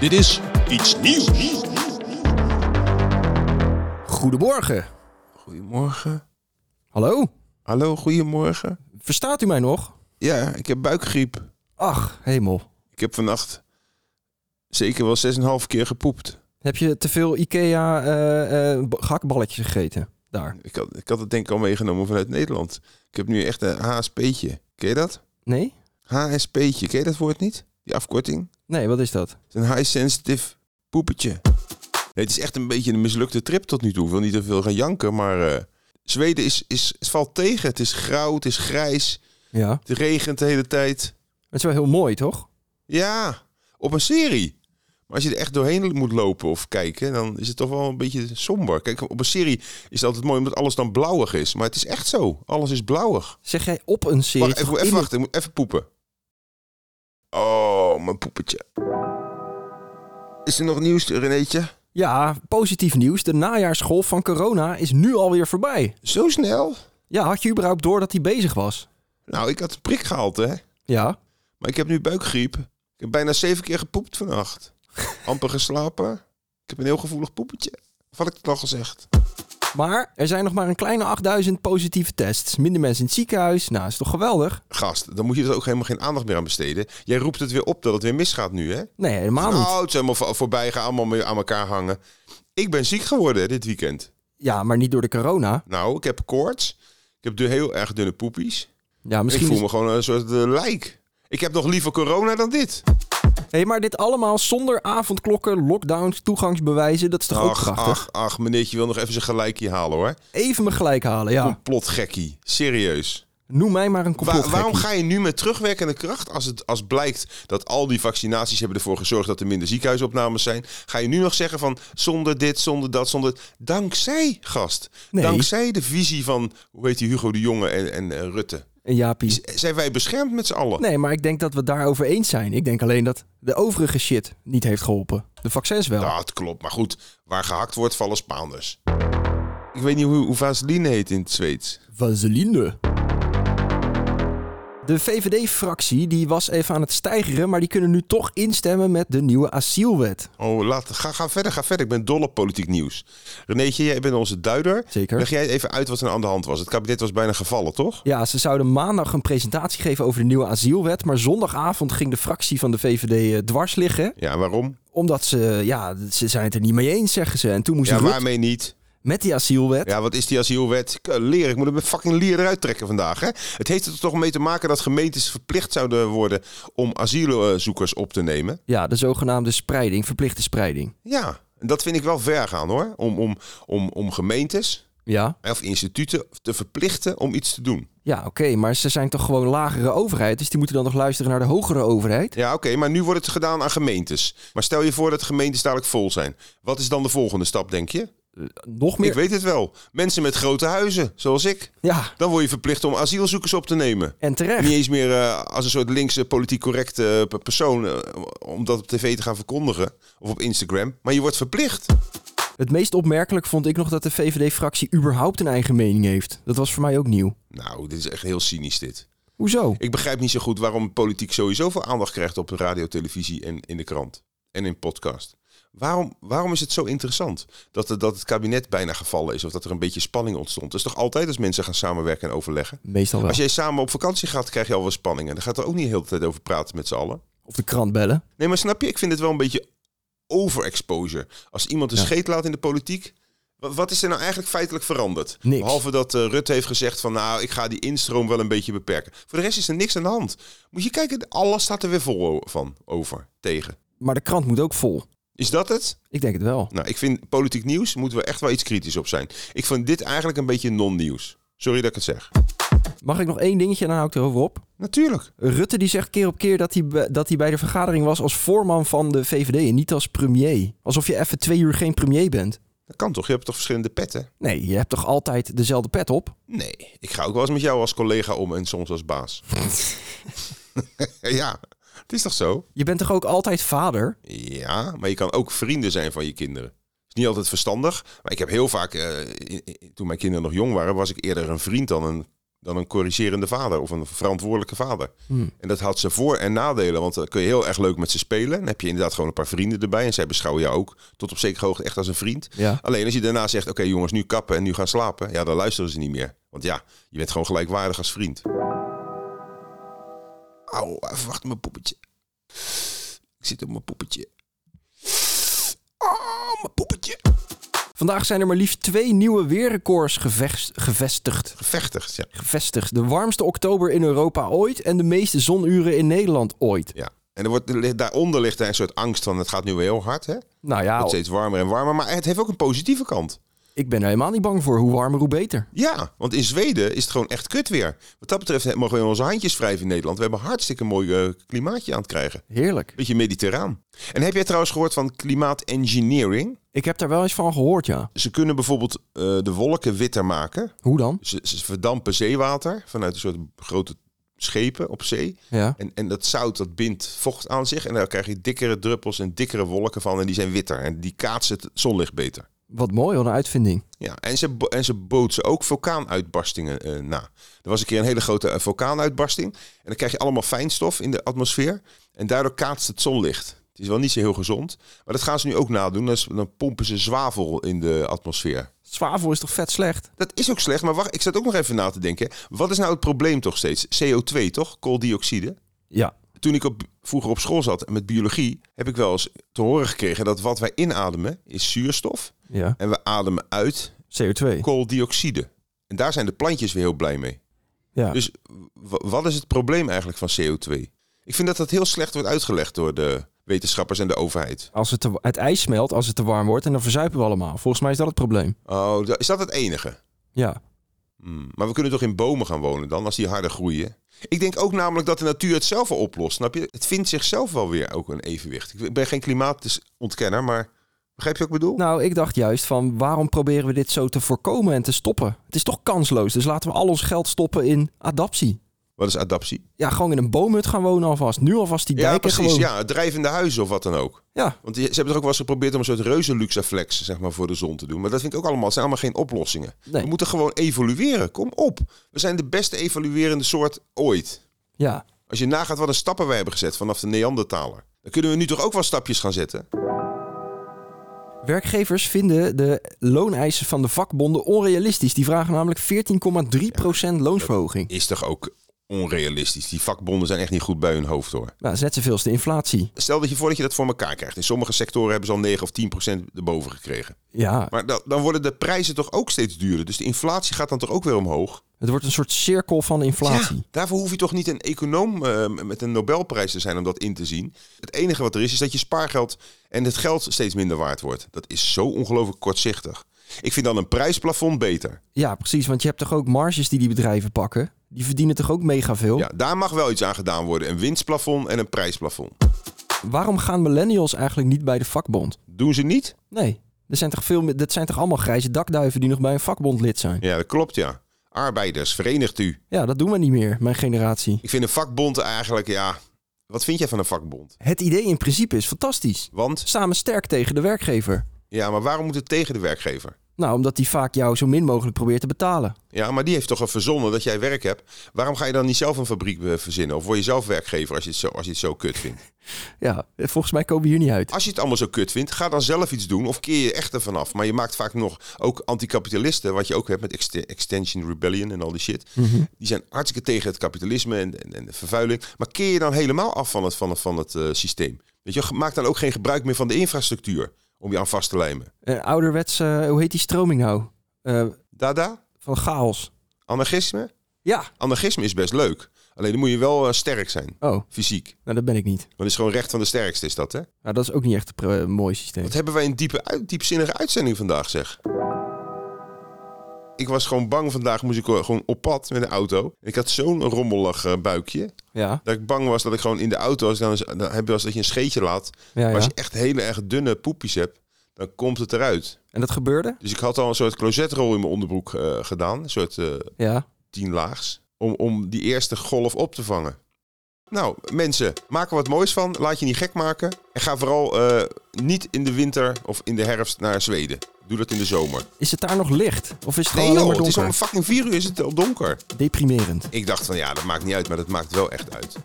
Dit is iets nieuws. Goedemorgen. Goedemorgen. Hallo, Hallo, goedemorgen. verstaat u mij nog? Ja, ik heb buikgriep. Ach, hemel. Ik heb vannacht zeker wel 6,5 keer gepoept. Heb je te veel IKEA eh, eh, b- gehaktballetjes gegeten? Daar. Ik had, ik had het denk ik al meegenomen vanuit Nederland. Ik heb nu echt een HSP'tje. Ken je dat? Nee? HSP'tje, ken je dat woord niet? Die afkorting? Nee, wat is dat? Het is een high sensitive poepetje. Nee, het is echt een beetje een mislukte trip tot nu toe. Ik wil niet te veel gaan janken, maar eh, Zweden is, is, het valt tegen. Het is grauw, het is grijs, Ja. het regent de hele tijd. Het is wel heel mooi, toch? Ja, op een serie. Maar als je er echt doorheen moet lopen of kijken, dan is het toch wel een beetje somber. Kijk, op een serie is het altijd mooi omdat alles dan blauwig is. Maar het is echt zo. Alles is blauwig. Zeg jij op een serie? Wacht, even, toch even in- wachten. Ik moet even poepen. Oh, mijn poepetje. Is er nog nieuws, Renéetje? Ja, positief nieuws. De najaarsgolf van corona is nu alweer voorbij. Zo snel? Ja, had je überhaupt door dat hij bezig was? Nou, ik had een prik gehaald, hè. Ja. Maar ik heb nu buikgriep. Ik heb bijna zeven keer gepoept vannacht. Amper geslapen. Ik heb een heel gevoelig poepetje. Of had ik het al gezegd? Maar er zijn nog maar een kleine 8000 positieve tests. Minder mensen in het ziekenhuis. Nou, is toch geweldig? gast, dan moet je er ook helemaal geen aandacht meer aan besteden. Jij roept het weer op dat het weer misgaat nu, hè? Nee, helemaal niet. Nou, het is helemaal vo- voorbij, gaan allemaal mee aan elkaar hangen. Ik ben ziek geworden dit weekend. Ja, maar niet door de corona. Nou, ik heb koorts. Ik heb du- heel erg dunne poepies. Ja, misschien ik is- voel me gewoon een soort eh, lijk. Ik heb nog liever corona dan dit. Hé, maar dit allemaal zonder avondklokken, lockdowns, toegangsbewijzen. Dat is toch ook Ach, prachtig? ach, ach, meneertje wil nog even zijn gelijkje halen, hoor. Even me gelijk halen, ja. Complotgekkie, serieus. Noem mij maar een Hm. Wa- complotgekkie. waarom ga je nu met terugwerkende kracht, als, het, als blijkt dat al die vaccinaties hebben ervoor gezorgd dat er minder ziekenhuisopnames zijn, ga je nu nog zeggen van zonder dit, zonder dat, zonder... Dankzij, gast. Nee. Dankzij de visie van, hoe heet die, Hugo de Jonge en, en eh, Rutte. Een jaapie. Z- Zijn wij beschermd met z'n allen? Nee, maar ik denk dat we het daarover eens zijn. Ik denk alleen dat de overige shit niet heeft geholpen. De vaccins wel. Ja, het klopt. Maar goed, waar gehakt wordt, vallen Spaanders. Ik weet niet hoe, hoe vaseline heet in het Zweeds. Vaseline. De VVD-fractie die was even aan het stijgeren, maar die kunnen nu toch instemmen met de nieuwe asielwet. Oh, laat, ga, ga verder, ga verder. Ik ben dol op politiek nieuws. Renéetje, jij bent onze duider. Zeker. Leg jij even uit wat er aan de hand was. Het kabinet was bijna gevallen, toch? Ja, ze zouden maandag een presentatie geven over de nieuwe asielwet, maar zondagavond ging de fractie van de VVD eh, dwars liggen. Ja, waarom? Omdat ze, ja, ze zijn het er niet mee eens, zeggen ze. En toen moest Ja, Rutte waarmee niet? met die asielwet. Ja, wat is die asielwet? K- Leer, ik moet hem fucking leer eruit trekken vandaag. Hè? Het heeft er toch mee te maken dat gemeentes verplicht zouden worden om asielzoekers op te nemen. Ja, de zogenaamde spreiding, verplichte spreiding. Ja, en dat vind ik wel ver gaan hoor. Om, om, om, om gemeentes Ja, of instituten te verplichten om iets te doen. ja oké, maar ze zijn toch gewoon lagere overheid, dus die moeten dan nog luisteren naar de hogere overheid? Ja, oké, maar nu wordt het gedaan aan gemeentes. Maar stel je voor dat gemeentes dadelijk vol zijn. Wat is dan de volgende stap, denk je? Nog meer? Ik weet het wel. Mensen met grote huizen, zoals ik. Ja, Dan word je verplicht om asielzoekers op te nemen. en terecht. Niet eens meer eh, als een soort linkse politiek correcte eh, persoon eh, om dat op tv te gaan verkondigen of op Instagram. Maar je wordt verplicht. Het meest opmerkelijk vond ik nog dat de VVD-fractie überhaupt een eigen mening heeft. Dat was voor mij ook nieuw. Nou, dit is echt heel cynisch dit. Hoezo? Ik begrijp niet zo goed waarom politiek sowieso veel aandacht krijgt op de radio, televisie en in de krant. En in podcast. Waarom, waarom is het zo interessant dat, het- dat het kabinet bijna gevallen is of dat er een beetje spanning ontstond? Dat is toch altijd als mensen gaan samenwerken en overleggen? Meestal wel. Als jij samen op vakantie gaat, krijg je al wel spanningen. Dan gaat er ook niet de hele tijd over praten met z'n allen. Of de krant bellen. Nee, maar snap je? Ik vind het wel een beetje overexposure. Als iemand een Ja. scheet laat in de politiek... wa- Wat is er nou eigenlijk feitelijk veranderd? Niks. Behalve dat eh, Rutte heeft gezegd van... nou, ik ga die instroom wel een beetje beperken. Voor de rest is er niks aan de hand. Moet je kijken, alles staat er weer vol o- van. Over, tegen. Maar de krant moet ook vol. Is dat het? Ik denk het wel. Nou, ik vind politiek nieuws moeten we echt wel iets kritisch op zijn. Ik vind dit eigenlijk een beetje non-nieuws. Sorry dat ik het zeg. Mag ik nog één dingetje en dan hou ik erover op? Natuurlijk. Rutte die zegt keer op keer dat hij, be- dat hij bij de vergadering was als voorman van de VVD en niet als premier. Alsof je even twee uur geen premier bent. Dat kan toch? Je hebt toch verschillende petten? Nee, je hebt toch altijd dezelfde pet op? Nee, ik ga ook wel eens met jou als collega om en soms als baas. ja, het is toch zo? Je bent toch ook altijd vader? Ja, maar je kan ook vrienden zijn van je kinderen. Het is niet altijd verstandig, maar ik heb heel vaak, eh, in- in- toen mijn kinderen nog jong waren, was ik eerder een vriend dan een, dan een corrigerende vader of een verantwoordelijke vader. En dat had ze voor- en nadelen, want dan kun je heel erg leuk met ze spelen. Dan heb je inderdaad gewoon een paar vrienden erbij en zij beschouwen jou ook tot op zekere hoogte echt als een vriend. Ja. Alleen als je daarna zegt, oké jongens, nu kappen en nu gaan slapen, ja, dan luisteren ze niet meer. Want ja, je bent gewoon gelijkwaardig als vriend. Auw, even wachten mijn poppetje. Ik zit op mijn poppetje. Oh, mijn poppetje. Vandaag zijn er maar liefst twee nieuwe weerrecords gevecht- gevestigd. Gevechtigd, ja. Gevestigd. De warmste oktober in Europa ooit en de meeste zonuren in Nederland ooit. ja. En er wordt, er ligt- daaronder ligt daar een soort angst van, het gaat nu weer heel hard, hè? Het Nou ja, wordt steeds warmer en warmer, maar het heeft ook een positieve kant. ik ben er helemaal niet bang voor. Hoe warmer, hoe beter. Ja, want in Zweden is het gewoon echt kut weer. Wat dat betreft mogen we onze handjes wrijven in Nederland. We hebben een hartstikke mooi eh, klimaatje aan het krijgen. Heerlijk. Beetje mediterraan. En heb jij trouwens gehoord van klimaatengineering? Ik heb daar wel eens van gehoord, ja. Ze kunnen bijvoorbeeld eh, de wolken witter maken. Hoe dan? Ze, ze verdampen zeewater vanuit een soort grote schepen op zee. Ja. En, en dat zout dat bindt vocht aan zich. En daar krijg je dikkere druppels en dikkere wolken van. En die zijn witter. En die kaatsen het zonlicht beter. Wat mooi, wat een uitvinding. Ja, en ze, bo- en ze bootsen ook vulkaanuitbarstingen eh, na. Er was een keer een hele grote eh, vulkaanuitbarsting. En dan krijg je allemaal fijnstof in de atmosfeer. En daardoor kaatst het zonlicht. Het is wel niet zo heel gezond. Maar dat gaan ze nu ook nadoen. Dan, dan pompen ze zwavel in de atmosfeer. Zwavel is toch vet slecht? Dat is ook slecht, maar wacht, ik zat ook nog even na te denken. Wat is nou het probleem toch steeds? CO2, toch? Kooldioxide. Ja. Toen ik op, vroeger op school zat met biologie, heb ik wel eens te horen gekregen dat wat wij inademen is zuurstof. Ja. En we ademen uit CO2. kooldioxide. En daar zijn de plantjes weer heel blij mee. Ja. Dus w- wat is het probleem eigenlijk van CO2? Ik vind dat dat heel slecht wordt uitgelegd door de wetenschappers en de overheid. Als het, te- het ijs smelt, als het te warm wordt, en dan verzuipen we allemaal. Volgens mij is dat het probleem. Oh, da- is dat het enige? Ja. Hmm, Maar we kunnen toch in bomen gaan wonen dan, als die harder groeien? Ik denk ook namelijk dat de natuur het zelf wel oplost, snap je? Het vindt zichzelf wel weer ook een evenwicht. Ik ben geen klimaatontkenner, maar begrijp je wat ik bedoel? Nou, ik dacht juist van waarom proberen we dit zo te voorkomen en te stoppen? Het is toch kansloos, dus laten we al ons geld stoppen in adaptie. Wat is adaptie? Ja, gewoon in een boomhut gaan wonen alvast. Nu alvast die Ja, dijken precies. gewoon. Ja, drijvende huizen of wat dan ook. ja. Want die- ze hebben toch ook wel eens geprobeerd om een soort reuzenluxaflex zeg maar, voor de zon te doen. Maar dat vind ik ook allemaal, het zijn allemaal geen oplossingen. Nee. We moeten gewoon evolueren. Kom op. We zijn de beste evoluerende soort ooit. ja. Als je nagaat wat een stappen wij hebben gezet vanaf de Neandertaler. Dan kunnen we nu toch ook wel stapjes gaan zetten? Werkgevers vinden de looneisen van de vakbonden onrealistisch. Die vragen namelijk 14,3% loonsverhoging. is toch ook onrealistisch. Die vakbonden zijn echt niet goed bij hun hoofd hoor. Nou, dat is net zoveel als de inflatie. Stel dat je voor dat je dat voor elkaar krijgt. In sommige sectoren hebben ze al 9 of 10 procent erboven gekregen. Ja, Maar dan- dan worden de prijzen toch ook steeds duurder. Dus de inflatie gaat dan toch ook weer omhoog. het wordt een soort cirkel van inflatie. Ja, daarvoor hoef je toch niet een econoom eh, met een Nobelprijs te zijn om dat in te zien. Het enige wat er is, is dat je spaargeld en het geld steeds minder waard wordt. Dat is zo ongelooflijk kortzichtig. Ik vind dan een prijsplafond beter. Ja, precies. Want je hebt toch ook marges die die bedrijven pakken? Die verdienen toch ook mega veel? Ja, daar mag wel iets aan gedaan worden. Een winstplafond en een prijsplafond. Waarom gaan millennials eigenlijk niet bij de vakbond? Doen ze niet? Nee, er zijn toch veel, meer- dat zijn toch allemaal grijze dakduiven die nog bij een vakbond lid zijn? Ja, dat klopt ja. Arbeiders, verenigt u. Ja, dat doen we niet meer, mijn generatie. Ik vind een vakbond eigenlijk, ja... Wat vind jij van een vakbond? Het idee in principe is fantastisch. Want, Samen sterk tegen de werkgever. ja, maar waarom moet het tegen de werkgever? Nou, omdat die vaak jou zo min mogelijk probeert te betalen. Ja, maar die heeft toch al verzonnen dat jij werk hebt. Waarom ga je dan niet zelf een fabriek eh, verzinnen? Of word je zelf werkgever als je het zo, als je het zo kut vindt? Ja, eh, volgens mij komen we hier niet uit. Als je het allemaal zo kut vindt, ga dan zelf iets doen of keer je echt ervan af. Maar je maakt vaak nog ook anticapitalisten, wat je ook hebt met Ext- Extension Rebellion en al die shit. Die zijn hartstikke tegen het kapitalisme en, en, en de vervuiling. Maar keer je dan helemaal af van het, van het, van het eh, systeem. Weet je, maak dan ook geen gebruik meer van de infrastructuur om je aan vast te lijmen. Een ouderwets, eh, hoe heet die stroming nou? Eh, Dada, van chaos. anarchisme? Ja. Anarchisme is best leuk. Alleen dan moet je wel eh, sterk zijn, Oh, fysiek. nou dat ben ik niet. Want het is gewoon recht van de sterkste, is dat hè? Nou, dat is ook niet echt een pro- mooi systeem. Wat hebben wij een diepe, uit, diepzinnige uitzending vandaag, zeg. Ik was gewoon bang vandaag, moest ik gewoon op pad met de auto. Ik had zo'n rommelig eh, buikje. Ja, Dat ik bang was dat ik gewoon in de auto, als ik dan, eens- dan heb je wel eens dat je een scheetje laat. ja, Maar als ja. je echt hele erg dunne poepjes hebt, dan komt het eruit. En dat gebeurde? Dus ik had al een soort closetrol in mijn onderbroek eh, gedaan. Een soort eh, Ja. tien laags. Om, om die eerste golf op te vangen. Nou, mensen, maak er wat moois van. Laat je niet gek maken. En ga vooral eh, niet in de winter of in de herfst naar Zweden. Doe dat in de zomer. Is het daar nog licht? Of is het Nee gewoon joh, het alleen maar is om donker? fucking vier uur is het al donker. Deprimerend. Ik dacht van ja, dat maakt niet uit, maar dat maakt wel echt uit.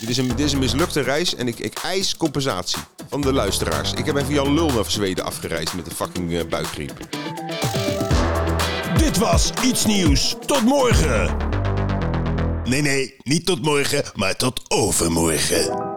Dit is een, dit is een mislukte reis en ik, ik eis compensatie van de luisteraars. Ik heb even Jan Lul naar Zweden afgereisd met de fucking eh, buikgriep. Dit was Iets Nieuws. Tot morgen. Nee, nee, niet tot morgen, maar tot overmorgen.